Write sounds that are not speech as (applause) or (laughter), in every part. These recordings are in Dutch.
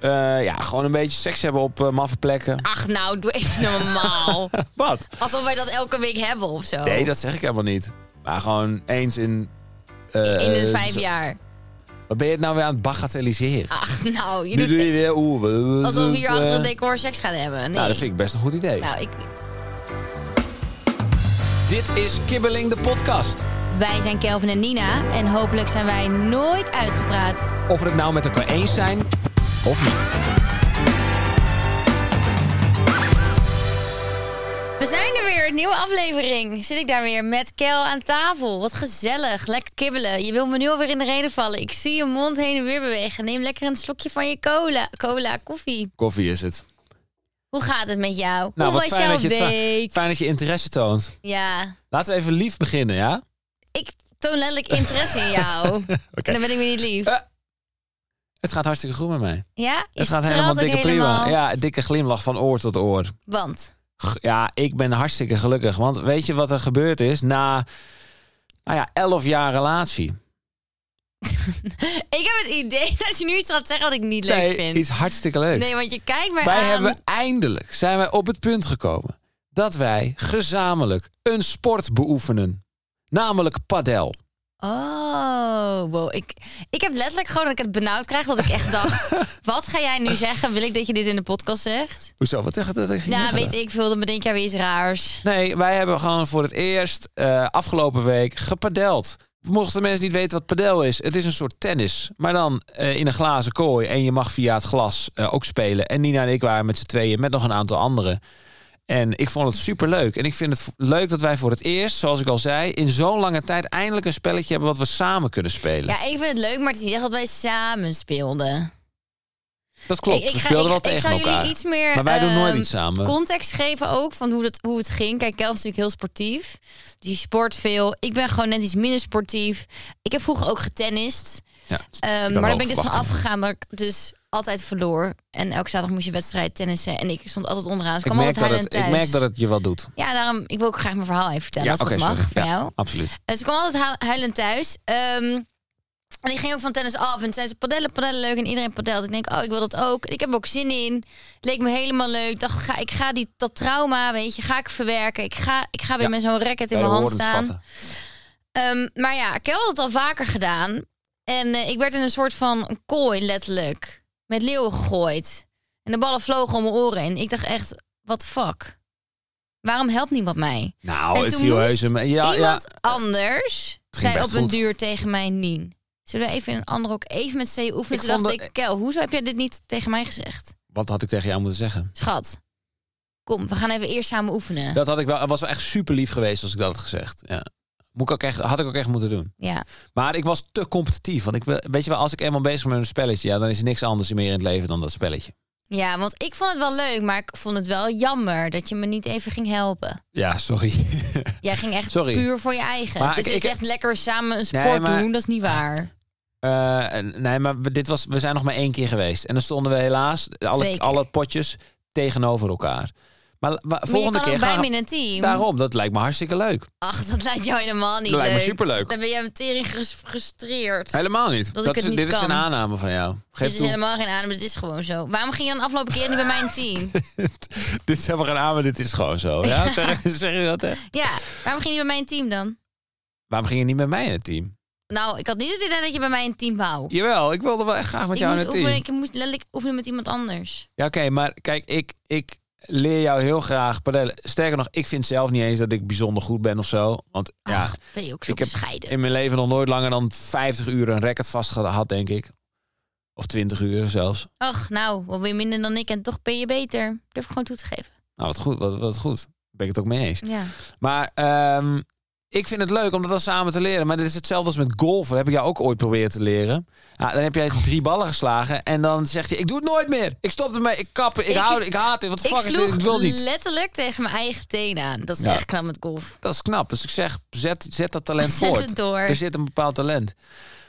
Eh, ja, gewoon een beetje seks hebben op eh, maffe plekken. Ach nou, doe even (laughs) normaal. Wat? Alsof wij dat elke week hebben of zo. Nee, dat zeg ik helemaal niet. Maar gewoon eens in... eh, In de vijf zo- jaar. Wat ben je het nou weer aan het bagatelliseren? Ach nou, je nu doet doe je weer... Oeh, we- we- alsof we hier eh, achter het decor seks gaan hebben. Nee. Nou, dat vind ik best een goed idee. Nou, ik niet. Dit is Kibbeling de podcast. Wij zijn Kelvin en Nina en hopelijk zijn wij nooit uitgepraat. Of we het nou met elkaar eens zijn of niet. We zijn er weer, een nieuwe aflevering. Zit ik daar weer met Kel aan tafel. Wat gezellig, lekker kibbelen. Je wil me nu alweer in de reden vallen. Ik zie je mond heen en weer bewegen. Neem lekker een slokje van je cola, cola koffie. Koffie is het. Hoe gaat het met jou? Nou, Hoe wat was fijn jouw dat, je het vra- week? fijn dat je interesse toont. Ja, Laten we even lief beginnen, ja? ik toon letterlijk interesse in jou. (laughs) Oké. Dan ben ik weer niet lief. Eh, Het gaat hartstikke goed met mij. ja? Je het gaat helemaal straalt ook dikke prima. helemaal. Ja, een dikke glimlach van oor tot oor. Want, G- Ja, ik ben hartstikke gelukkig. Want weet je wat er gebeurd is? Na, nou ja, elf jaar relatie. ik heb het idee (laughs) dat je nu iets gaat zeggen wat ik niet leuk nee, vind. iets hartstikke leuks. Nee, want je kijkt maar wij aan. hebben eindelijk, zijn wij op het punt gekomen... dat wij gezamenlijk een sport beoefenen. Namelijk padel. Oh, wow. Ik, ik heb letterlijk gewoon dat ik het benauwd krijg dat ik echt dacht... (laughs) wat ga jij nu zeggen? Wil ik dat je dit in de podcast zegt? Hoezo? Wat echt? Dat, Ja, Nou, weet ik veel. Dan bedenk jij weer iets raars. Nee, wij hebben gewoon voor het eerst eh, afgelopen week gepadeld. Mochten mensen niet weten wat padel is, het is een soort tennis. Maar dan eh, in een glazen kooi en je mag via het glas eh, ook spelen. En Nina en ik waren met z'n tweeën met nog een aantal anderen. En ik vond het superleuk. En ik vind het v- leuk dat wij voor het eerst, zoals ik al zei... in zo'n lange tijd eindelijk een spelletje hebben wat we samen kunnen spelen. Ja, ik vind het leuk, maar het is niet echt dat wij samen speelden. dat klopt, ik, ik we ga- speelden ik- wel ik tegen zal jullie elkaar. iets meer, maar wij doen nooit ehm, iets samen. Context geven ook van hoe, dat, hoe het ging. Kijk, Kelvin is natuurlijk heel sportief. Dus je sport veel. Ik ben gewoon net iets minder sportief. Ik heb vroeger ook getennist. Ja, Ehm, wel maar daar ben ik dus van verwachten. afgegaan. Maar ik dus altijd verloor. En elke zaterdag moest je wedstrijd tennissen. En ik stond altijd onderaan. Dus ik, ik kwam merk altijd dat huilend het, ik thuis. merk dat het je wat doet. Ja, daarom, ik wil ook graag mijn verhaal even vertellen. als dat mag sorry. van Ja, jou. absoluut. Dus ik kwam altijd hu- huilend thuis. Ehm, en ik ging ook van tennis af. En toen zei ze padellen, padellen leuk. En iedereen padelt. Ik denk, oh, ik wil dat ook. En ik heb er ook zin in. Het leek me helemaal leuk. Ik dacht, ga, ik ga die, dat trauma, weet je, ga ik verwerken. Ik ga, ik ga weer Ja. met zo'n racket in Bij de mijn hand woorden te staan. vatten. Ehm, maar ja, ik heb het al vaker gedaan. En eh, ik werd in een soort van kooi, letterlijk. Met leeuwen gegooid. En de ballen vlogen om mijn oren. En ik dacht echt, what the fuck? Waarom helpt niemand mij? Nou, en het toen viel moest heus een- Ja, ja. iemand anders zei best op een goed. duur tegen mij Nien. Zullen we even in een andere ook even met z'n oefenen? Ik Toen dacht vond dat- ik, Kel, hoezo heb jij dit niet tegen mij gezegd? Wat had ik tegen jou moeten zeggen? Schat, kom, we gaan even eerst samen oefenen. Dat had ik wel. Het was wel echt super lief geweest als ik dat had gezegd. Ja. Moet ik ook echt, had ik ook echt moeten doen. Ja. Maar ik was te competitief. Want ik, wil- weet je wel, als ik eenmaal bezig ben met een spelletje, ja, dan is er niks anders meer in het leven dan dat spelletje. ja, want ik vond het wel leuk, maar ik vond het wel jammer dat je me niet even ging helpen. Ja, sorry. Jij ging echt Sorry. puur voor je eigen. Maar dus ik- je ik- zegt lekker samen een sport Nee, maar- doen, dat is niet waar. (laughs) Eh, nee, maar we- dit was, we zijn nog maar één keer geweest. En dan stonden we helaas, Twee alle, keer. alle potjes, tegenover elkaar. Maar, la- wa- Maar je volgende kan keer ook bij gaan me we- in een team. Daarom, dat lijkt me hartstikke leuk. Ach, dat lijkt jou helemaal niet Dat leuk. lijkt me superleuk. Dan ben jij meteen gefrustreerd. Helemaal niet. Dat ik is, het niet dit is kan. een aanname van jou. Geef Dit is toe. helemaal geen adem, dit is gewoon zo. Waarom ging je dan afgelopen keer niet bij mijn (laughs) team? (laughs) dit is helemaal geen aan, maar dit is gewoon zo. Ja? Zeg, (laughs) zeg je dat echt? Ja, waarom ging je niet bij mijn team dan? Waarom ging je niet met mij in het team? Nou, ik had niet het idee dat je bij mijn team wou. Jawel, ik wilde wel echt graag met Ik jou moest, in het team. oefenen, ik moest letterlijk oefenen met iemand anders. Ja, oké, maar kijk, ik, ik leer jou heel graag padellen. Sterker nog, ik vind zelf niet eens dat ik bijzonder goed ben of zo. Want ja, Ach, ben je ook zo ik heb bescheiden. in mijn leven nog nooit langer dan 50 uur een racket vastgehad, denk ik. Of 20 uur zelfs. Ach, nou, wel weer minder dan ik en toch ben je beter. Durf ik gewoon toe te geven. Nou, wat goed, wat, wat goed. Ben ik het ook mee eens. Ja. Maar ehm, Ik vind het leuk om dat dan samen te leren. Maar dit is hetzelfde als met golfen. Dat heb ik jou ook ooit proberen te leren. Ja, dan heb jij drie ballen geslagen. En dan zegt hij, ik doe het nooit meer. Ik stop ermee. Ik kap. Ik, Ik- hou Ik haat dit. Wat de Ik fuck is dit? sloeg Ik wil niet. letterlijk tegen mijn eigen teen aan. Dat is Ja. echt knap met golf. Dat is knap. Dus ik zeg, zet, zet dat talent Zet voort. het door. Er zit een bepaald talent.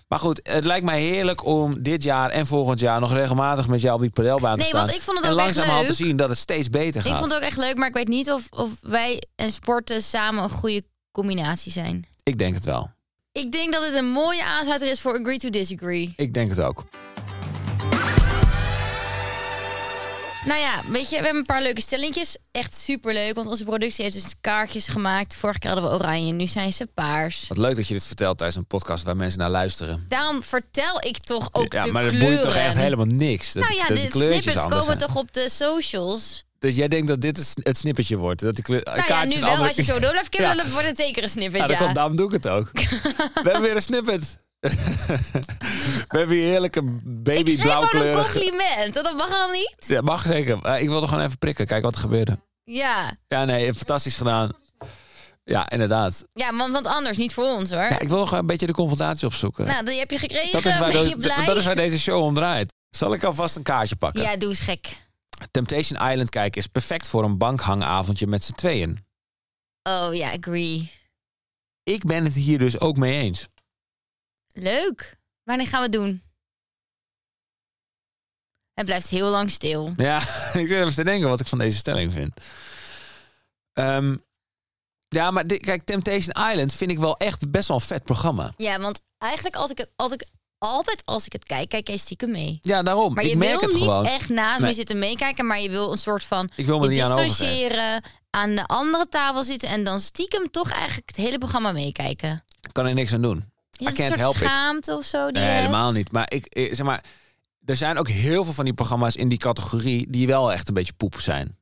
Maar goed, het lijkt mij heerlijk om dit jaar en volgend jaar nog regelmatig met jou op die padelbaan Nee, te staan. want ik vond het en ook echt langzamerhand leuk. te zien dat het steeds beter gaat. Ik vond het ook echt leuk, maar ik weet niet of, of wij en sporten samen een goede combinatie zijn. Ik denk het wel. Ik denk dat het een mooie aansluiter is voor Agree to Disagree. Ik denk het ook. Nou ja, weet je, we hebben een paar leuke stellingjes. Echt superleuk, want onze productie heeft dus kaartjes gemaakt. Vorige keer hadden we oranje, nu zijn ze paars. Wat leuk dat je dit vertelt tijdens een podcast waar mensen naar luisteren. Daarom vertel ik toch ook ja, de maar dat kleuren. boeit toch echt helemaal niks. Dat, nou ja, dat de kleurtjes snippets anders komen zijn. toch op de socials. Dus jij denkt dat dit het sn- het snippertje wordt? Dat de kleur, Nou ja, kaartjes nu een wel. andere- Als je zo door (laughs) blijft Ja. kibbelen, wordt het zeker een snippet, Ja, ja. dat komt, daarom doe ik het (laughs) ook. We hebben weer een snippet. We hebben hier heerlijke ik geef gewoon een babyblauwkleurige... compliment. Dat mag al niet. Ja, mag zeker. Eh, ik wilde gewoon even prikken, kijken wat er gebeurde. Ja, Ja, nee, je hebt fantastisch gedaan. Ja, inderdaad. ja want, want anders niet voor ons, hoor. Ja, ik wilde gewoon een beetje de confrontatie opzoeken. Nou, die heb je gekregen. dat, is waar ben de- je blij? dat is waar deze show om draait. Zal ik alvast een kaartje pakken? Ja, doe eens gek. Temptation Island kijken is perfect voor een bankhangavondje met z'n tweeën. Oh ja, agree. Ik ben het hier dus ook mee eens. Leuk. Wanneer gaan we het doen? Het blijft heel lang stil. Ja, (laughs) ik zit even te denken wat ik van deze stelling vind. Ehm, ja, maar dit- kijk, Temptation Island vind ik wel echt best wel een vet programma. Ja, want eigenlijk als ik het, als ik, altijd als ik het kijk, kijk jij stiekem mee. Ja, daarom. Maar ik je merk wil het niet gewoon. echt naast Nee. me zitten meekijken, maar je wil een soort van Ik wil me je er niet aan overgeven. distancieren, aan de andere tafel zitten en dan stiekem toch eigenlijk het hele programma meekijken. Ik kan er niks aan doen. I Is het een can't soort help it. schaamte of zo? Die Nee, je hebt? helemaal niet. Maar ik eh, zeg maar, er zijn ook heel veel van die programma's in die categorie die wel echt een beetje poep zijn.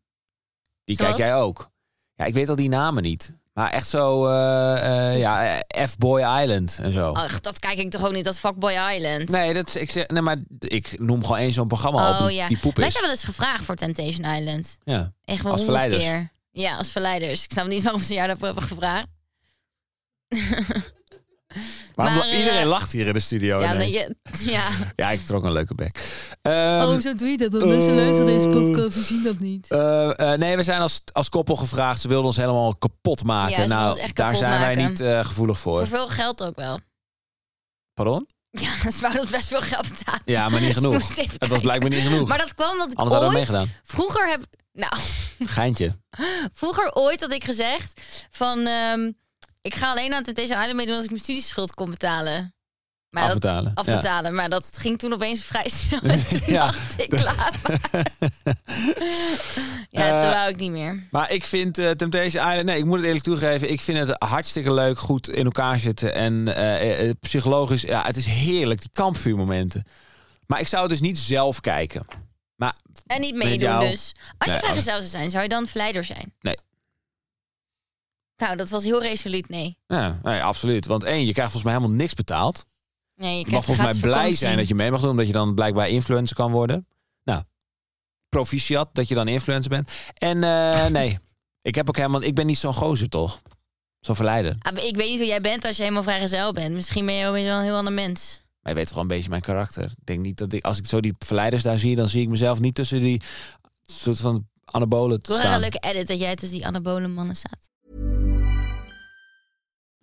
Die Zoals? kijk jij ook. Ja, ik weet al die namen niet. Maar echt zo, eh, eh, ja, eh, F-Boy Island en zo. Ach, Oh, dat kijk ik toch ook niet, dat Fuckboy Island. Nee, dat, is- ik, zeg, nee, maar ik noem gewoon één zo'n programma op oh, die, ja. die poep Wij is. zijn wel eens gevraagd voor Temptation Island. Ja. Echt wel Als honderd verleiders. keer. Ja, als verleiders. Ik snap niet waarom ze jou daarvoor hebben gevraagd. Maar, Maar, eh, iedereen lacht hier in de studio. ja, Ja, nee, je, (laughs) ja. ja ik trok een leuke bek. Ehm, oh, zo doe je dat. Want mensen luisteren deze podcast, ze zien dat niet. Oh. Eh, eh, nee, we zijn als, als koppel gevraagd. Ze wilden ons helemaal kapot maken. Ja, ze wilden nou, ons echt daar kapot zijn wij maken. niet eh, gevoelig voor. voor veel geld ook wel. (laughs) Pardon? Ja, ze wouden ons best veel geld betalen. Ja, (laughs) maar niet Dus genoeg. moest ik even Het was kijken. blijkbaar niet genoeg. Maar dat kwam dat ik Anders hadden we ooit... meegedaan. Vroeger heb... Nou, (laughs) Geintje. vroeger ooit had ik gezegd van... ehm, ik ga alleen aan Temptation Island meedoen als ik mijn studieschuld kon betalen. (laughs) Maar dat- afbetalen. Ja. afbetalen. Maar dat ging toen opeens vrij (laughs) snel. En toen (laughs) Ja. dacht ik, klaar. (laughs) ja, Eh, toen wou ik niet meer. Maar ik vind eh, Temptation Island... Nee, ik moet het eerlijk toegeven. Ik vind het hartstikke leuk goed in elkaar zitten. En eh, eh, psychologisch... Ja, het is heerlijk. Die kampvuurmomenten. Maar ik zou het dus niet zelf kijken. Maar En niet met meedoen jou- dus. Als Nee, je vrijgezel zou zijn, zou je dan verleider zijn? Nee. Nou, dat was heel resoluut, nee. ja, nee, absoluut. Want één, je krijgt volgens mij helemaal niks betaald. nee je Je mag krijgt volgens mij gratis blij vakantie. zijn dat je mee mag doen, omdat je dan blijkbaar influencer kan worden. Nou, proficiat dat je dan influencer bent. En (laughs) eh, nee, ik heb ook helemaal, ik ben niet zo'n gozer toch? Zo'n verleider. Ah, maar ik weet niet hoe jij bent als je helemaal vrijgezel bent. Misschien ben je wel een heel ander mens. Maar je weet gewoon een beetje mijn karakter. Ik denk niet dat ik, als ik zo die verleiders daar zie, dan zie ik mezelf niet tussen die soort van anabolen te Het was echt een staan. leuke edit dat jij tussen die anabole mannen staat.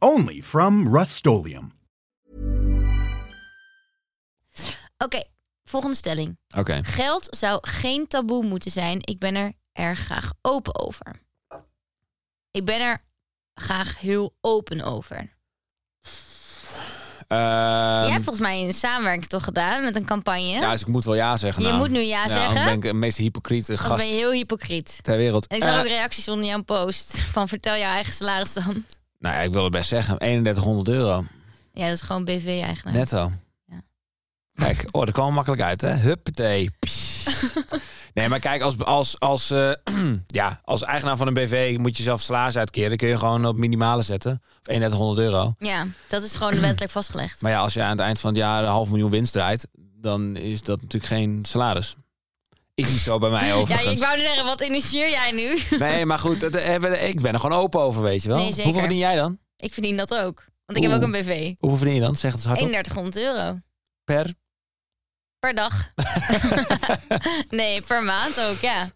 Only from Rust Oké, volgende stelling. Oké, Geld zou geen taboe moeten zijn. Ik ben er erg graag open over. Ik ben er graag heel open over. Ehm, Jij hebt volgens mij een samenwerking toch gedaan met een campagne. ja, dus ik moet wel ja zeggen. Je nou. moet nu ja zeggen. Dan ben ik de meest hypocriete Dan gast ben je heel hypocriet. ter wereld. En ik zag Eh, ook reacties (laughs) onder jouw post van vertel jouw eigen salaris dan. nou ja, ik wil het best zeggen. 3100 euro. Ja, dat is gewoon BV-eigenaar. Netto. Ja. Kijk, oh, dat kwam er makkelijk uit, hè? (laughs) Huppatee. Pssst. Nee, maar kijk, als, als, als, eh, (clears throat) ja, als eigenaar van een BV moet je zelf salaris uitkeren. Dan kun je gewoon op minimale zetten. Of 3100 euro. Ja, dat is gewoon wettelijk vastgelegd. Maar ja, als je aan het eind van het jaar een half miljoen winst draait... dan is dat natuurlijk geen salaris. Is niet zo bij mij (laughs) Ja, overigens. ik wou net zeggen, wat initieer jij nu? (laughs) Nee, maar goed, dat hebben we- ik ben er gewoon open over, weet je wel. Nee, zeker. Hoeveel verdien jij dan? ik verdien dat ook. Want ik heb Oeh. ook een BV. Hoeveel verdien je dan? Zeg het eens hardop. 3100 euro. Per? Per (laughs) dag. nee, per maand ook, ja. (clears throat)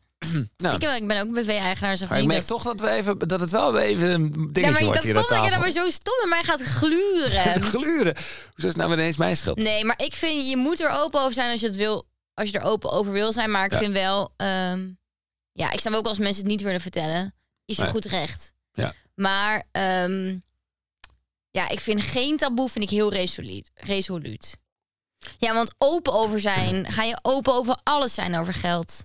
Nou, Ik, heb- ik ben ook een BV-eigenaar. Zeg maar maar ik merk niet dat- toch dat, we even, dat het wel even een dingetje Ja, maar oh, wordt dat hier komt aan dat je daar tafel. maar zo stom en mij gaat (laughs) gluren. Gluren. Hoezo is het nou ineens mijn schuld? Nee, maar ik vind, je moet er open over zijn als je, het wil, als je er open over wil zijn. Maar ik Ja. vind wel, ehm, ja, ik snap ook als mensen het niet willen vertellen, is je Nee. goed recht. Ja. Maar ehm, ja, ik vind geen taboe vind ik heel resoluut. resoluut. Ja, want open over (clears throat) zijn, ga je open over alles zijn over geld.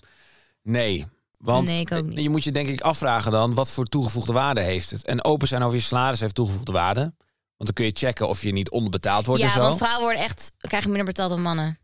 Nee. Want eh, Nee, ik ook niet. je moet je denk ik afvragen dan, wat voor toegevoegde waarde heeft het? En open zijn over je salaris heeft toegevoegde waarde. Want dan kun je checken of je niet onderbetaald wordt en ja, zo. want vrouwen worden echt, krijgen minder betaald dan mannen.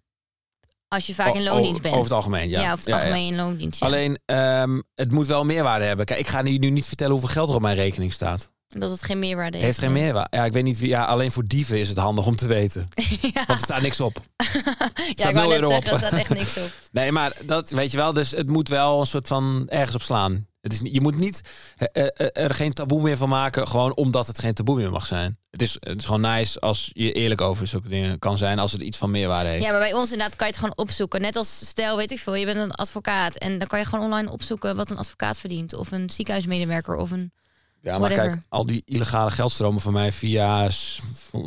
Als je vaak O- in o- loondienst bent. Oh, Over het algemeen, ja. Ja, of het algemeen in loondienst. ja. Alleen, ehm, het moet wel meerwaarde hebben. Kijk, ik ga nu nu niet vertellen hoeveel geld er op mijn rekening staat. Dat het geen meerwaarde heeft. Heeft geen meerwaarde. Ja, ik weet niet wie. Ja, alleen voor dieven is het handig om te weten. (laughs) ja. Want er staat niks op. Ja, staat ik wou nul net euro op. zeggen, er staat echt niks (laughs) op. Nee, maar dat weet je wel. Dus het moet wel een soort van ergens op slaan. Het is, niet- je moet niet eh, eh, eh, er geen taboe meer van maken, gewoon omdat het geen taboe meer mag zijn. Het is, het is gewoon nice als je eerlijk over zulke dingen kan zijn, als het iets van meerwaarde heeft. Ja, maar bij ons inderdaad kan je het gewoon opzoeken. Net als stel, weet ik veel, je bent een advocaat. En dan kan je gewoon online opzoeken wat een advocaat verdient. Of een ziekenhuismedewerker. Of een... Ja, maar Whatever. kijk, al die illegale geldstromen van mij via S-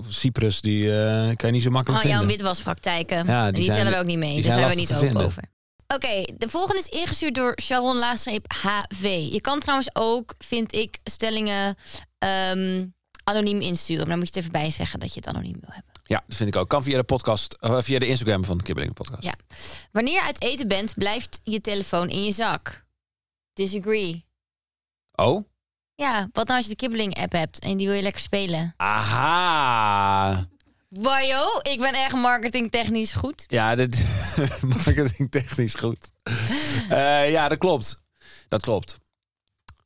Cyprus, die eh, kan je niet zo makkelijk Oh, jouw vinden. witwaspraktijken. Ja, En die die zijn- tellen we ook niet mee. die Daar zijn zijn, we lastig niet te open vinden. over. Oké, de volgende is ingestuurd door Sharon Laagstreep HV. Je kan trouwens ook, vind ik, stellingen ehm, anoniem insturen. Maar dan moet je het even bij zeggen dat je het anoniem wil hebben. Ja, dat vind ik ook. Kan via de podcast, eh, via de Instagram van de Kibbeling Podcast. Ja. Wanneer je uit eten bent, blijft je telefoon in je zak. Disagree. Oh, Ja, wat nou als je de kibbeling-app hebt en die wil je lekker spelen? aha. Wajo, ik ben echt marketingtechnisch goed. Ja, dit (laughs) marketing technisch goed. Eh, ja, dat klopt. Dat klopt.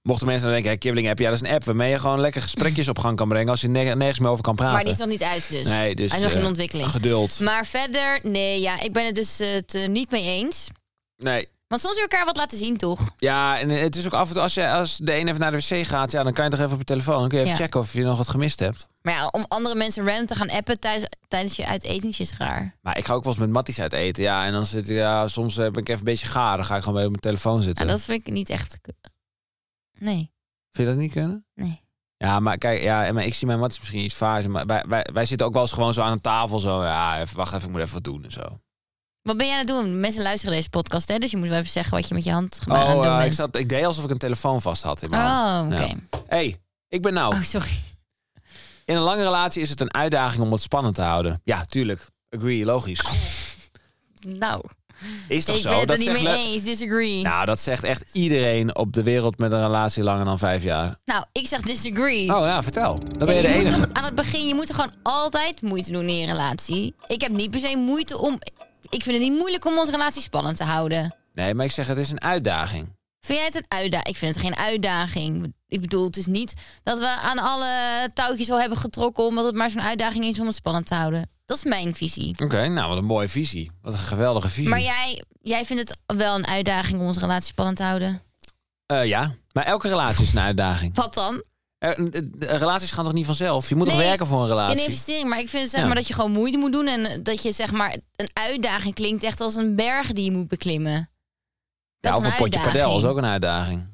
Mochten mensen dan denken, hey, Kibbeling app, ja, dat is een app waarmee je gewoon lekker gesprekjes op gang kan brengen als je ne- nergens meer over kan praten. Maar die is nog niet uit dus. Nee, dus, Hij is nog eh, in ontwikkeling. geduld. Maar verder, nee, ja, ik ben het dus eh, het eh, niet mee eens. Nee. Want soms wil je elkaar wat laten zien, toch? Ja, en het is ook af en toe, als, je, als de een even naar de wc gaat, ja, dan kan je toch even op je telefoon. Dan kun je even Ja. checken of je nog wat gemist hebt. Maar ja, om andere mensen random te gaan appen tijdens, tijdens je uitetentje is raar. Maar ik ga ook wel eens met Matties uit eten. Ja, en dan zit ik, ja, soms eh, ben ik even een beetje gaar. Dan ga ik gewoon bij op mijn telefoon Ja, zitten. dat vind ik niet echt... k- Nee, Vind je dat niet kunnen? nee. Ja, maar kijk, ja, en maar ik zie mijn matties misschien iets vaar. Maar wij, wij, wij zitten ook wel eens gewoon zo aan een tafel. Zo, ja, even, wacht even, ik moet even wat doen en zo. Wat ben jij aan het doen? Mensen luisteren deze podcast, hè? Dus je moet wel even zeggen wat je met je hand Oh, aan het doen eh, ik, bent. zat, ik deed alsof ik een telefoon vast had in mijn Oh, hand. oké. Ja. hey, ik ben nou. Oh, sorry. In een lange relatie is het een uitdaging om het spannend te houden. Ja, tuurlijk. Agree, logisch. Nou, Is toch ik zo? ben het er niet zegt mee le- eens. Disagree. Nou, dat zegt echt iedereen op de wereld met een relatie langer dan vijf jaar. Nou, ik zeg disagree. Oh, ja, vertel. Dan Ja, ben je je de moet enige. toch aan het begin, je moet er gewoon altijd moeite doen in je relatie. Ik heb niet per se moeite om... Ik vind het niet moeilijk om onze relatie spannend te houden. Nee, maar ik zeg, het is een uitdaging. Vind jij het een uitdaging? Ik vind het geen uitdaging. Ik bedoel, het is niet dat we aan alle touwtjes al hebben getrokken... omdat het maar zo'n uitdaging is om het spannend te houden. Dat is mijn visie. Oké, nou, wat een mooie visie. Wat een geweldige visie. Maar jij, jij vindt het wel een uitdaging om onze relatie spannend te houden. Eh, ja, maar elke relatie is een uitdaging. Wat dan? Eh, eh, eh, relaties gaan toch niet vanzelf? Je moet toch Nee, werken voor een Een relatie? investering, maar ik vind zeg Ja. maar dat je gewoon moeite moet doen en eh, dat je zeg maar een uitdaging klinkt echt als een berg die je moet beklimmen. ja, Dat of is een potje uitdaging. padel is (laughs) ook een uitdaging.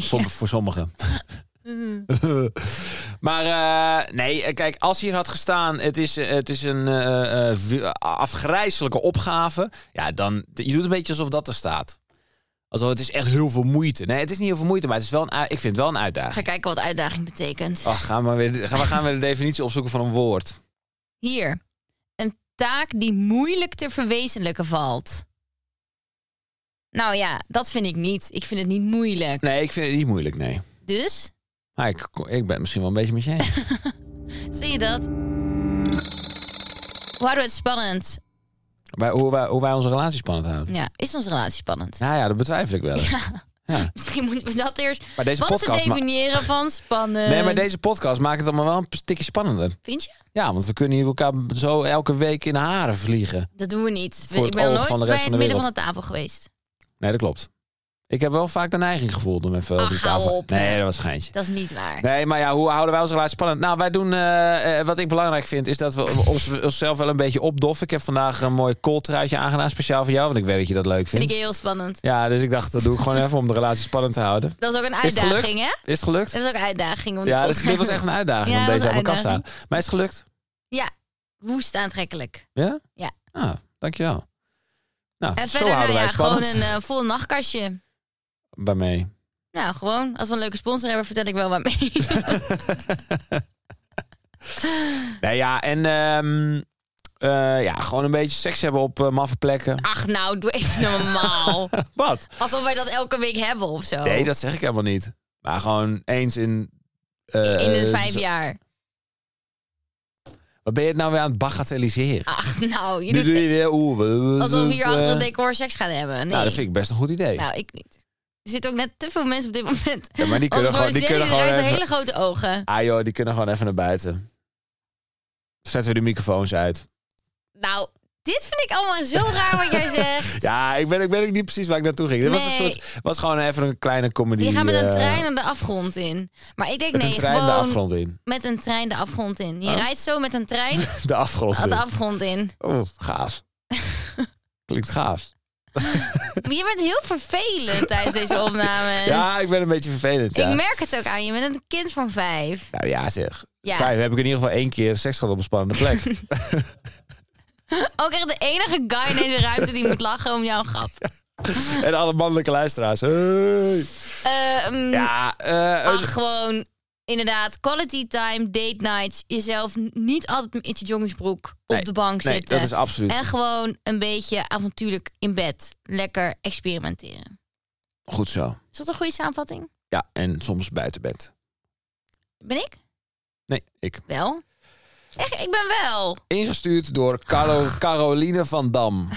Voor, voor sommigen. (laughs) maar eh, nee, eh, kijk, als hier had gestaan... het is, eh, het is een eh, eh, wi- afgrijzelijke opgave... ja, dan... je doet een beetje alsof dat er staat. Alsof het is echt heel veel moeite. Nee, het is niet heel veel moeite, maar het is wel een, ui- ik vind het wel een Ga uitdaging. kijken wat uitdaging betekent. Ach, gaan we, weer, gaan we gaan weer de definitie opzoeken van een woord. Hier. Een taak die moeilijk te verwezenlijken valt. Nou ja, dat vind ik niet. Ik vind het niet moeilijk. Nee, ik vind het niet moeilijk, nee. Ah, Dus, Maar ik, ik ben het misschien wel een beetje met je eens. zie je dat? Hoe houden we het spannend? Bij, hoe, wij, hoe wij onze relatie spannend houden. Ja, is onze relatie spannend? Nou ja, dat betwijfel ik wel eens. Misschien moeten we dat eerst... Maar deze Wat is podcast het ma- definiëren (laughs) van spannend? Nee, maar deze podcast maakt het allemaal wel een stukje spannender. Vind je? Ja, want we kunnen hier elkaar zo elke week in de haren vliegen. Dat doen we niet. Voor ik het ben oog nog van de nooit rest bij van het de midden van de wereld. tafel geweest. Nee, dat klopt. Ik heb wel vaak de neiging gevoeld om even Ach, op die Ah, hou tafel... op, hè. nee, dat was een geintje. Dat is niet waar. Nee, maar ja, hoe houden wij onze relatie spannend? Nou, wij doen... eh, eh, wat ik belangrijk vind, is dat we ons, onszelf wel een beetje opdoffen. Ik heb vandaag een mooi kooltruitje aangedaan, speciaal voor jou. Want ik weet dat je dat leuk Vind ik vindt. heel spannend. Ja, dus ik dacht, dat doe ik gewoon even om de relatie spannend te houden. Dat is ook een Is het gelukt? uitdaging, hè? Is het gelukt? Dat is ook een uitdaging. Om die Ja, dit, podcast- dit was echt een uitdaging Ja, om dat deze was uit een elkaar te halen. uitdaging. Maar is het gelukt? Ja, woest aantrekkelijk. Ja? Ja. Ah, dankjewel. Nou, En zo verder, nou houden wij ja, het gewoon spannend een eh, vol nachtkastje. bij mij. Nou, gewoon. Als we een leuke sponsor hebben, vertel ik wel wat (laughs) mee. Nee, Nou ja, en ehm, eh, ja, gewoon een beetje seks hebben op eh, maffe plekken. (laughs) Ach, nou, doe even normaal. Wat? Alsof wij dat elke week hebben of zo. Nee, dat zeg ik helemaal niet. Maar gewoon eens in... eh, In een eh, vijf zo- jaar. Wat ben je het nou weer aan het bagatelliseren? Ach, nou, je nu doet doe je weer... Oeh, we- we- alsof we we- hier achter eh, het decor seks gaan hebben. Nee. Nou, dat vind ik best een goed idee. Nou, ik niet. Er zitten ook net te veel mensen op dit moment. Ja, maar die kunnen Onze gewoon- die producent, kunnen gewoon draait even- hele grote ogen. Ah joh, die kunnen gewoon even naar buiten. Zetten we de microfoons uit. Nou, dit vind ik allemaal zo raar wat (laughs) jij zegt. Ja, ik weet, ik weet ook niet precies waar ik naartoe ging. Dit was een Nee. soort, was gewoon even een kleine comedy. Die gaan met een eh, trein aan de afgrond in. Maar ik denk, met nee, een trein gewoon de afgrond in. (laughs) met een trein de afgrond in. Je Oh. rijdt zo met een (laughs) trein De afgrond in. de afgrond in. Oh, (laughs) gaaf. Klinkt gaaf. Maar je bent heel vervelend tijdens deze opnames. Ja, ik ben een beetje vervelend. Ja. dus- Ik merk het ook aan je. Je bent een kind van vijf. Nou ja, zeg. Ja. Vijf heb ik in ieder geval één keer seks gehad op een spannende (laughs) plek. Ook echt de enige guy in deze ruimte die moet lachen om jouw (laughs) grap. en alle mannelijke luisteraars. Hey. Eh, mm, Ja, eh, Ach, gewoon inderdaad, quality time, date nights. Jezelf n- niet altijd met je jongensbroek op Nee, de bank nee, zitten. dat is absoluut. En gewoon een beetje avontuurlijk in bed. Lekker experimenteren. goed zo. Is dat een goede samenvatting? Ja, en soms buiten bed. Ben ik? Nee, ik. Wel. Echt, ik ben wel. Ingestuurd door Carlo, Caroline van Dam.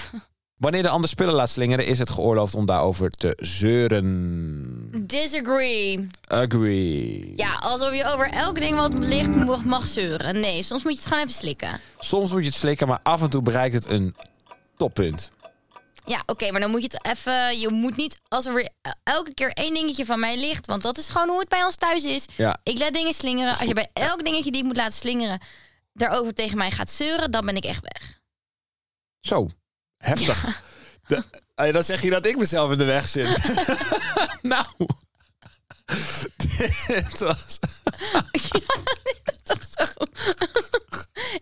Wanneer de ander spullen laat slingeren, is het geoorloofd om daarover te zeuren. Disagree. Agree. Ja, alsof je over elk ding wat ligt mag, mag zeuren. Nee, soms moet je het gewoon even slikken. Soms moet je het slikken, maar af en toe bereikt het een toppunt. Ja, oké, maar dan moet je het even... Je moet niet, als er weer el- elke keer één dingetje van mij ligt... want dat is gewoon hoe het bij ons thuis is. Ja. Ik laat dingen slingeren. Als je bij elk dingetje die ik moet laten slingeren... daarover tegen mij gaat zeuren, dan ben ik echt weg. (laughs) Zo, heftig. De- Eh, dan zeg je dat ik mezelf in de weg zit. (laughs) nou, (laughs) dit was... Toch zo.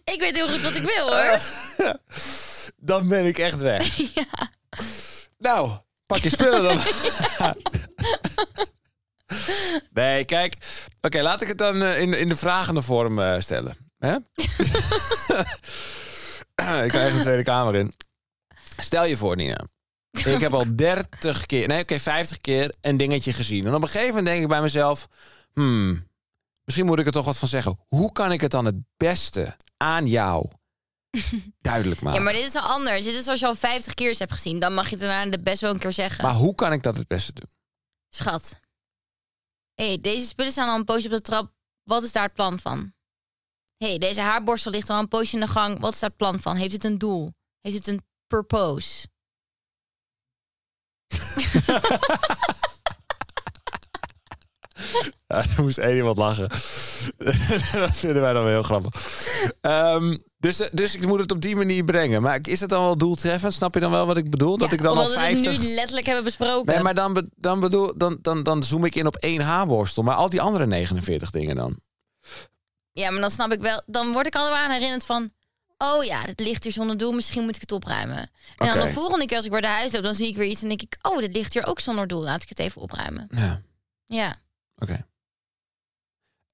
ik weet heel goed wat ik wil, hoor. Dan ben ik echt (laughs) weg. Nou, pak je spullen dan. nee, kijk. Oké, laat ik het dan eh, in, in de vragende vorm eh, stellen. Hè? (laughs) ik krijg de Tweede Kamer in. Stel je voor, Nina. Ik heb (laughs) al 30 keer, nee, oké, 50 keer een dingetje gezien. En op een gegeven moment denk ik bij mezelf: hmm, misschien moet ik er toch wat van zeggen. Hoe kan ik het dan het beste aan (laughs) jou duidelijk maken? Ja, maar dit is wel anders. Dit is als je al 50 keer eens hebt gezien. Dan mag je het daarna de best wel een keer zeggen. Maar hoe kan ik dat het beste doen? (laughs) Schat. Hé, hey, deze spullen staan al een poosje op de trap. Wat is daar het plan van? Hé, hey, deze haarborstel ligt al een poosje in de gang. Wat is daar het plan van? Heeft het een doel? Heeft het een purpose? er moest één iemand lachen. (laughs) dat vinden wij dan wel heel grappig. Ehm, dus, dus ik moet het op die manier brengen. Maar is het dan wel doeltreffend? Snap je dan wel wat ik bedoel? dat Ja, ik dan al omdat we 50... het nu letterlijk hebben besproken. Nee, maar dan, be- dan, bedoel, dan, dan, dan zoom ik in op één haarborstel. Maar al die andere 49 dingen dan. Ja, maar dan snap ik wel. Dan word ik al aan herinnerd van... Oh ja, dit ligt hier zonder doel. Misschien moet ik het opruimen. En Oké. dan de volgende keer als ik weer naar huis loop... dan zie ik weer iets en denk ik... Oh, dit ligt hier ook zonder doel. Laat ik het even opruimen. Ja, Ja, oké.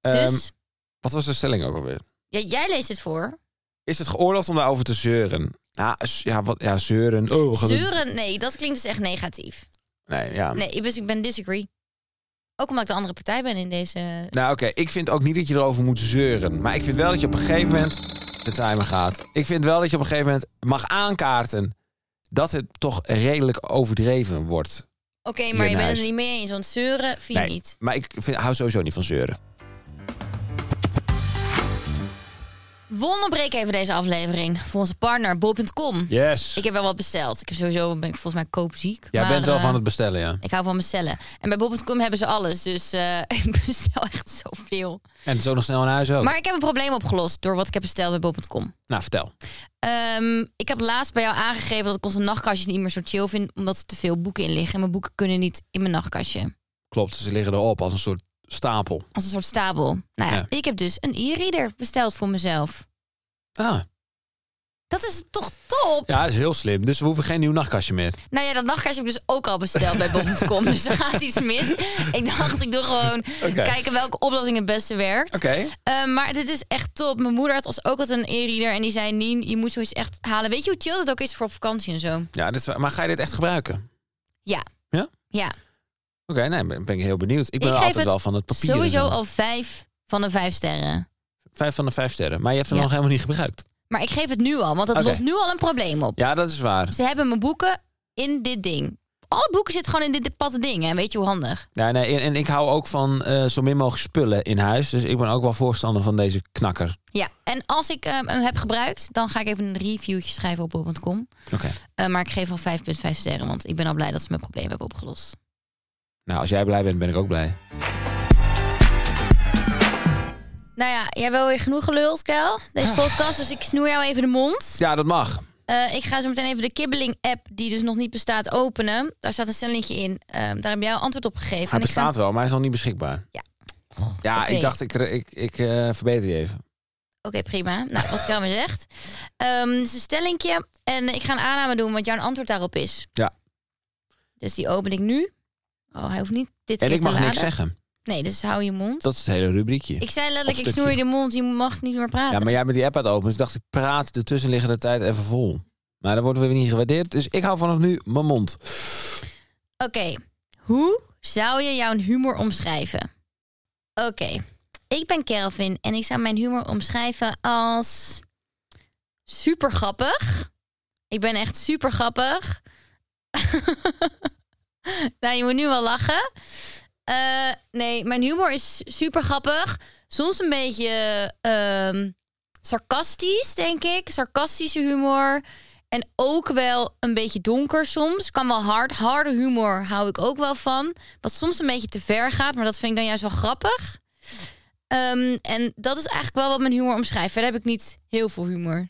Ehm, dus... Wat was de stelling ook alweer? Ja, jij leest het voor. Is het geoorloofd om daarover te zeuren? Ja, z- ja, wat, ja zeuren. Oh, we gaan het- Zeuren, nee, dat klinkt dus echt negatief. Nee, ja. Nee, dus ik ben disagree. Ook omdat ik de andere partij ben in deze... Nou, oké. Ik vind ook niet dat je erover moet zeuren. Maar ik vind wel dat je op een gegeven moment de timer gaat. Ik vind wel dat je op een gegeven moment mag aankaarten dat het toch redelijk overdreven wordt. Oké, Hier maar in je bent huis. het er niet mee eens, want zeuren vind je niet. maar ik vind, hou sowieso niet van zeuren. We onderbreken even deze aflevering voor onze partner bol.com. Yes. Ik heb wel wat besteld. Ik heb sowieso ben ik volgens mij koopziek. Jij maar, bent wel eh, van het bestellen, ja. Ik hou van mijn cellen. En bij bol.com hebben ze alles, dus eh, (laughs) ik bestel echt zoveel. En zo nog snel naar huis ook. Maar ik heb een probleem opgelost door wat ik heb besteld bij bol.com. Nou, vertel. Ehm, ik heb laatst bij jou aangegeven dat ik onze nachtkastjes niet meer zo chill vind, omdat er te veel boeken in liggen. En mijn boeken kunnen niet in mijn nachtkastje. Klopt, ze liggen erop als een soort stapel. Als een soort stabel. Nou ja, Ja. ik heb dus een e-reader besteld voor mezelf. Ah, Dat is toch top? ja, dat is heel slim. Dus we hoeven geen nieuw nachtkastje meer. Nou ja, dat nachtkastje heb ik dus ook al besteld bij bol.com. dus er gaat iets mis. Ik dacht, ik doe gewoon Oké. kijken welke oplossing het beste werkt. Oké. Eh, maar dit is echt top. Mijn moeder had als ook altijd een e-reader. En die zei, Nien, je moet zoiets echt halen. Weet je hoe chill dat ook is voor op vakantie en zo? Ja, dit, maar ga je dit echt gebruiken? Oké, Ja. Ja? Ja. nee, ben, ben ik heel benieuwd. Ik ben Ik geef altijd het wel van het papier. Sowieso al vijf van de vijf sterren. Vijf van de vijf sterren. Maar je hebt hem Ja. nog helemaal niet gebruikt. Maar ik geef het nu al, want dat Oké. lost nu al een probleem op. Ja, dat is waar. Ze hebben mijn boeken in dit ding. Alle boeken zitten gewoon in dit, dit platte ding. Hè? Weet je hoe handig? Ja, nee, en, en ik hou ook van eh, zo min mogelijk spullen in huis. Dus ik ben ook wel voorstander van deze knakker. Ja, en als ik ehm, hem heb gebruikt, dan ga ik even een reviewtje schrijven op bol.com. Oké. Eh, maar ik geef al 5,5 sterren, want ik ben al blij dat ze mijn probleem hebben opgelost. Nou, als jij blij bent, ben ik ook blij. Nou ja, jij hebt wel weer genoeg geluld, Kel. Ah. Deze podcast, dus ik snoer jou even de mond. Ja, dat mag. Eh, ik ga zo meteen even de kibbeling-app, die dus nog niet bestaat, openen. Daar staat een stellingje in. Ehm, daar heb jij antwoord op gegeven. Hij En ik ga- bestaat wel, maar hij is nog niet beschikbaar. Ja. Ja, Oké. ik dacht, ik, ik, ik eh, verbeter je even. Oké, prima. Nou, wat Kel me (laughs) zegt. Ehm het is een stellingje. En ik ga een aanname doen wat jouw antwoord daarop is. Ja. Dus die open ik nu. Oh, hij hoeft niet dit En keer ik mag te niks laden. zeggen. Nee, dus hou je mond. Dat is het hele rubriekje. Ik zei Of letterlijk, ik stukje. snoer je de mond. Je mag niet meer praten. Ja, maar jij met die app had open. Dus dacht ik, praat de tussenliggende tijd even vol. Maar dan worden we weer niet gewaardeerd. Dus ik hou vanaf nu mijn mond. Oké, hoe zou je jouw humor omschrijven? Oké, ik ben Kelvin en ik zou mijn humor omschrijven als super grappig. Ik ben echt super grappig. (laughs) nou, je moet nu wel lachen. Eh, nee, mijn humor is super grappig. Soms een beetje ehm, sarcastisch, denk ik. Sarcastische humor. En ook wel een beetje donker soms. Kan wel hard. Harde humor hou ik ook wel van. Wat soms een beetje te ver gaat, maar dat vind ik dan juist wel grappig. Ehm, en dat is eigenlijk wel wat mijn humor omschrijft. Verder heb ik niet heel veel humor.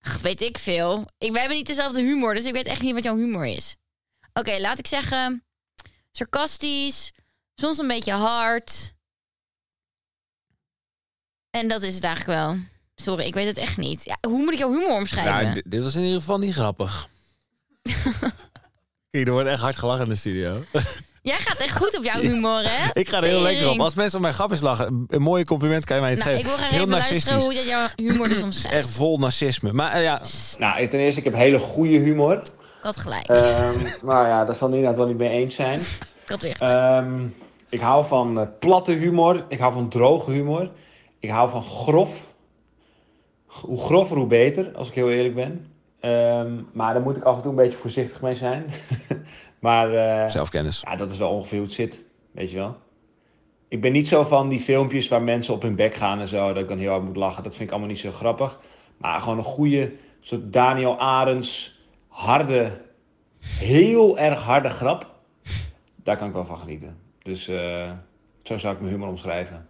Ach, weet ik veel. Ik, wij hebben niet dezelfde humor, dus ik weet echt niet wat jouw humor is. Oké, laat ik zeggen... Sarcastisch. Soms een beetje hard. En dat is het eigenlijk wel. Sorry, ik weet het echt niet. Ja, hoe moet ik jouw humor omschrijven? Ja, Nou, dit was in ieder geval niet (laughs) grappig. Kijk, er wordt echt hard gelachen in de studio. (laughs) Jij gaat echt goed op jouw humor, hè? ik ga er heel lekker op. Tering. Als mensen op mijn grapjes lachen, een mooie compliment kan je mij niet Nou, geven. ik wil Het graag is even heel luisteren hoe narcistisch. je jouw humor dus omschrijft. Echt vol narcisme. Maar eh, ja, Nou, ten eerste, ik heb hele goede humor. Ik had gelijk. Eh. Ehm, maar ja, daar zal Nina het wel niet mee eens zijn. ik had weer. Ehm, ik hou van eh, platte humor. Ik hou van droge humor. Ik hou van grof. G- Hoe grover, hoe beter, als ik heel eerlijk ben. Ehm, maar daar moet ik af en toe een beetje voorzichtig mee zijn. (laughs) maar eh, zelfkennis. ja, dat is wel ongeveer hoe het zit, weet je wel. Ik ben niet zo van die filmpjes waar mensen op hun bek gaan en zo, dat ik dan heel hard moet lachen. Dat vind ik allemaal niet zo grappig. Maar gewoon een goede, soort Daniel Arends, harde, heel erg harde grap. Daar kan ik wel van genieten. Dus eh, zo zou ik mijn humor omschrijven.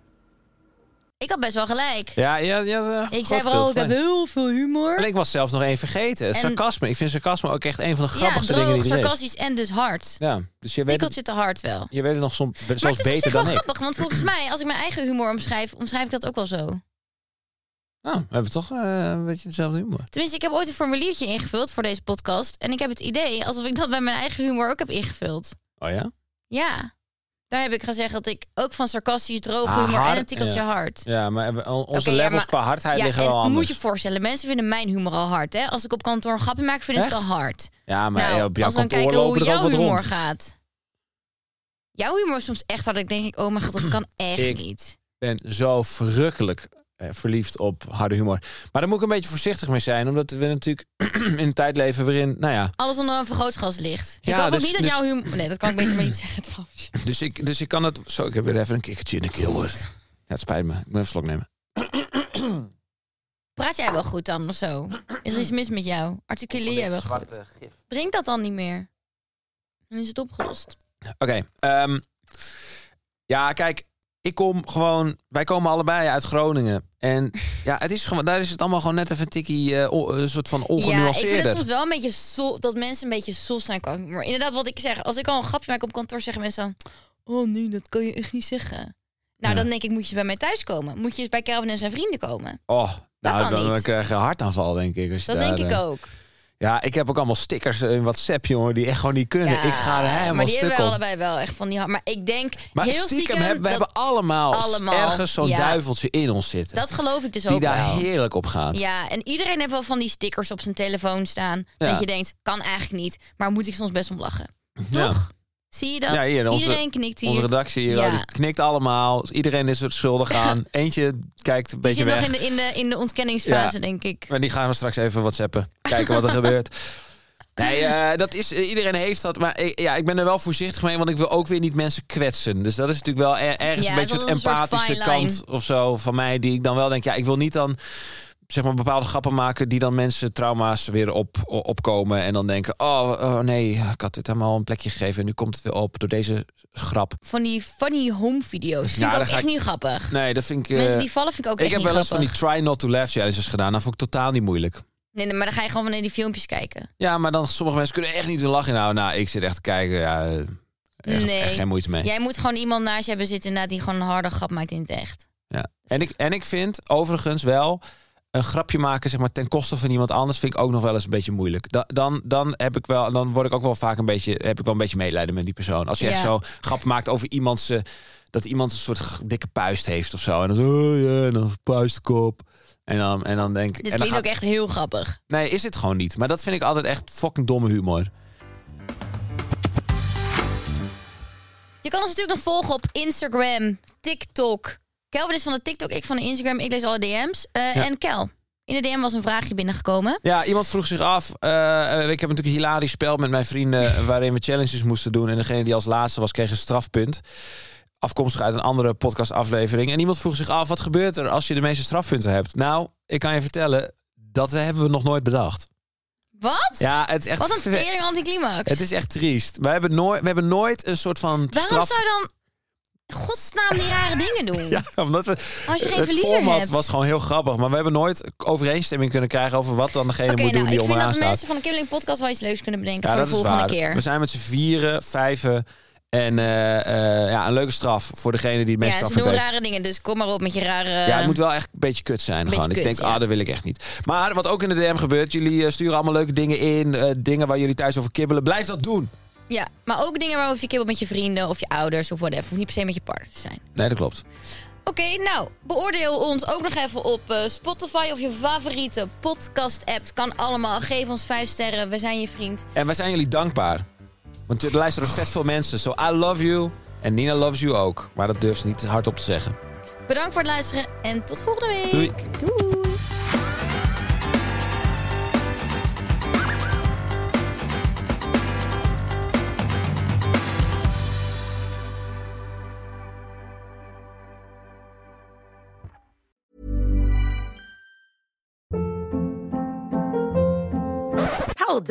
Ik had best wel gelijk. Ja, ja, ja. eh, ik groot zei geld vooral, ik heb gelijk. heel veel humor. En ik was zelfs nog één vergeten. Het En- sarcasme. Ik vind sarcasme ook echt een van de ja, grappigste dingen droog, die er is. sarcastisch en dus hard. Ja, dus je weet, het, Tikkeltje te hard wel. je weet het nog soms zelfs maar het is op beter zich dan wel ik. grappig, want volgens mij, als ik mijn eigen humor omschrijf, omschrijf ik dat ook wel zo. Nou, we hebben toch eh, een beetje dezelfde humor. Tenminste, ik heb ooit een formuliertje ingevuld voor deze podcast. En ik heb het idee alsof ik dat bij mijn eigen humor ook heb ingevuld. Oh ja? Ja. Daar heb ik gezegd dat ik ook van sarcastisch, droog Ah, humor en hard, een tikkeltje ja. hard. Ja, maar we- on- onze Oké, ja, levels maar- qua hardheid Ja, liggen en wel anders. moet je voorstellen, mensen vinden mijn humor al hard. Hè? Als ik op kantoor een grapje maak, vinden ze het Echt? al hard. Ja, maar nou, eh, op jouw als we dan kantoor kijken hoe lopen er ook jouw wat humor rond. gaat. (clears throat) Jouw humor is soms echt hard. Ik denk, ik, oh mijn god, dat kan echt Ik- niet. Ik ben zo verrukkelijk eh, verliefd op harde humor. Maar daar moet ik een beetje voorzichtig mee zijn. Omdat we natuurlijk (clears throat) in een tijd leven waarin, nou ja, Alles onder een vergrootglas ligt. Ik Ja, hoop dus- ook niet dat dus- jouw humor... Nee, dat kan ik beter maar niet (laughs) zeggen trouwens. Dus ik, dus ik kan het... Zo, ik heb weer even een kikkertje in de keel, hoor. Ja, het spijt me. Ik moet even een slok nemen. Praat jij wel goed dan of zo? Is er iets mis met jou? Articuleer jij wel goed? Drink dat dan niet meer. Dan is het opgelost. Oké. ehm, ja, kijk. Ik kom gewoon... Wij komen allebei uit Groningen. En ja, het is gewoon, daar is het allemaal gewoon net even een tikkie... eh, o- een soort van Ja, ik vind ongenuanceerder. het soms wel een beetje zo, dat mensen een beetje sols zijn. qua humor. inderdaad, wat ik zeg, als ik al een grapje maak op kantoor, zeggen mensen dan... Oh, nee, dat kan je echt niet zeggen. Ja. Nou, dan denk ik, moet je eens bij mij thuis komen. Moet je eens bij Kelvin en zijn vrienden komen. Oh, nou, kan dan, dan niet. krijg je een hartaanval, denk ik. Als je Dat daar, denk ik eh, ook. Ja, ik heb ook allemaal stickers in WhatsApp, jongen, die echt gewoon niet kunnen. Ja, ik ga er Maar helemaal die stuk hebben we op. allebei wel echt van die... ha- Maar ik denk Maar heel stiekem, stiekem... hebben we dat, hebben allemaal, allemaal, ergens zo'n ja. duiveltje in ons zitten. dat geloof ik dus die ook wel. daar heerlijk op gaat. Ja, en iedereen heeft wel van die stickers op zijn telefoon staan. Ja. Dat je denkt, kan eigenlijk niet, maar moet ik soms best om lachen. Ja. Toch? Zie je dat? Ja, hier, onze- iedereen knikt hier. Onze redactie hier, Ja. oh, die knikt allemaal. Iedereen is er (laughs) schuldig aan. Eentje kijkt een die beetje zit weg. nog in de, in, de, in de ontkenningsfase, Ja. denk ik. Maar die gaan we straks even whatsappen. Kijken (laughs) wat er gebeurt. Nee, eh, dat is, eh, iedereen heeft dat. Maar ik, ja, ik ben er wel voorzichtig mee, want ik wil ook weer niet mensen kwetsen. Dus dat is natuurlijk wel er- ergens Ja, een het beetje het is een soort empathische fine kant line. of zo van mij. Die ik dan wel denk, ja, ik wil niet dan zeg maar bepaalde grappen maken die dan mensen trauma's weer op, o- opkomen. En dan denken, oh, oh nee, ik had dit helemaal een plekje gegeven. En nu komt het weer op door deze grap. Van die funny home video's. Vind Ja, ik daar ook ga echt ik- niet grappig. Nee, dat vind ik... eh, Mensen die vallen vind ik ook ik echt heb niet wel eens van die grappig. try not to laugh challenges gedaan. Dat vond ik totaal niet moeilijk. Nee, nee, maar dan ga je gewoon naar die filmpjes kijken. Ja, maar dan sommige mensen kunnen echt niet hun lach inhouden. Nou, ik zit echt te kijken. Ja, eh, echt, Nee. echt geen moeite mee. Jij moet gewoon iemand naast je hebben zitten inderdaad, die gewoon een harde grap maakt in het echt. Ja. En, ik, en ik vind overigens wel een grapje maken zeg maar, ten koste van iemand anders vind ik ook nog wel eens een beetje moeilijk. Dan, dan, dan, heb ik wel, dan word ik ook wel vaak een beetje, heb ik wel een beetje medelijden met die persoon. Als je echt Ja. zo grap maakt over iemand zijn, dat iemand een soort g- dikke puist heeft of zo. En dan zo, oh ja, en dan puistkop. En dan, en dan denk ik... Dit en dan klinkt ga- ook echt heel grappig. Nee, is het gewoon niet. Maar dat vind ik altijd echt fucking domme humor. Je kan ons natuurlijk nog volgen op Instagram, TikTok. Kelvin is van de TikTok, ik van de Instagram. Ik lees alle DM's. Eh, Ja. En Kel, in de DM was een vraagje binnengekomen. Ja, iemand vroeg zich af. eh, ik heb natuurlijk een hilarisch spel met mijn vrienden. waarin we challenges moesten doen. En degene die als laatste was, kreeg een strafpunt. Afkomstig uit een andere podcastaflevering. En iemand vroeg zich af: wat gebeurt er als je de meeste strafpunten hebt? Nou, ik kan je vertellen. Dat we- hebben we nog nooit bedacht. Wat? Ja, (laughs) het is echt. Wat een ver- tering anticlimax. Het is echt triest. We hebben nooit, we hebben nooit een soort van. Waarom straf... zou je dan in godsnaam die rare dingen doen? (laughs) Ja, (laughs) omdat we. Als je geen het verliezer format hebt. was gewoon heel grappig. Maar we hebben nooit overeenstemming kunnen krijgen over wat dan degene Oké, moet doen nou, die ik vind onderaan dat de staat. mensen van de Kibbeling Podcast wel iets leuks kunnen bedenken Ja, voor dat de is volgende waar. keer. We zijn met z'n vieren, vijven. En eh, eh, ja, een leuke straf voor degene die het meest ja, ze straf doen heeft. rare dingen, dus kom maar op met je rare... eh, Ja, het moet wel echt een beetje kut zijn. beetje Gewoon. ik kut, denk, ja. ah, dat wil ik echt niet. Maar wat ook in de DM gebeurt, jullie eh, sturen allemaal leuke dingen in. eh, dingen waar jullie thuis over kibbelen. Blijf dat doen. ja, maar ook dingen waarover je kibbelt met je vrienden of je ouders of whatever. Hoeft niet per se met je partner te zijn. Nee, dat klopt. Oké, nou, beoordeel ons ook nog even op eh, Spotify of je favoriete podcast-app. Kan allemaal. Geef ons vijf sterren. We zijn je vriend. En wij zijn jullie dankbaar. Want er luisteren vet veel mensen. So I love you. En Nina loves you ook. Maar dat durft ze niet hardop te zeggen. Bedankt voor het luisteren en tot volgende week. Doei. Doei. Hold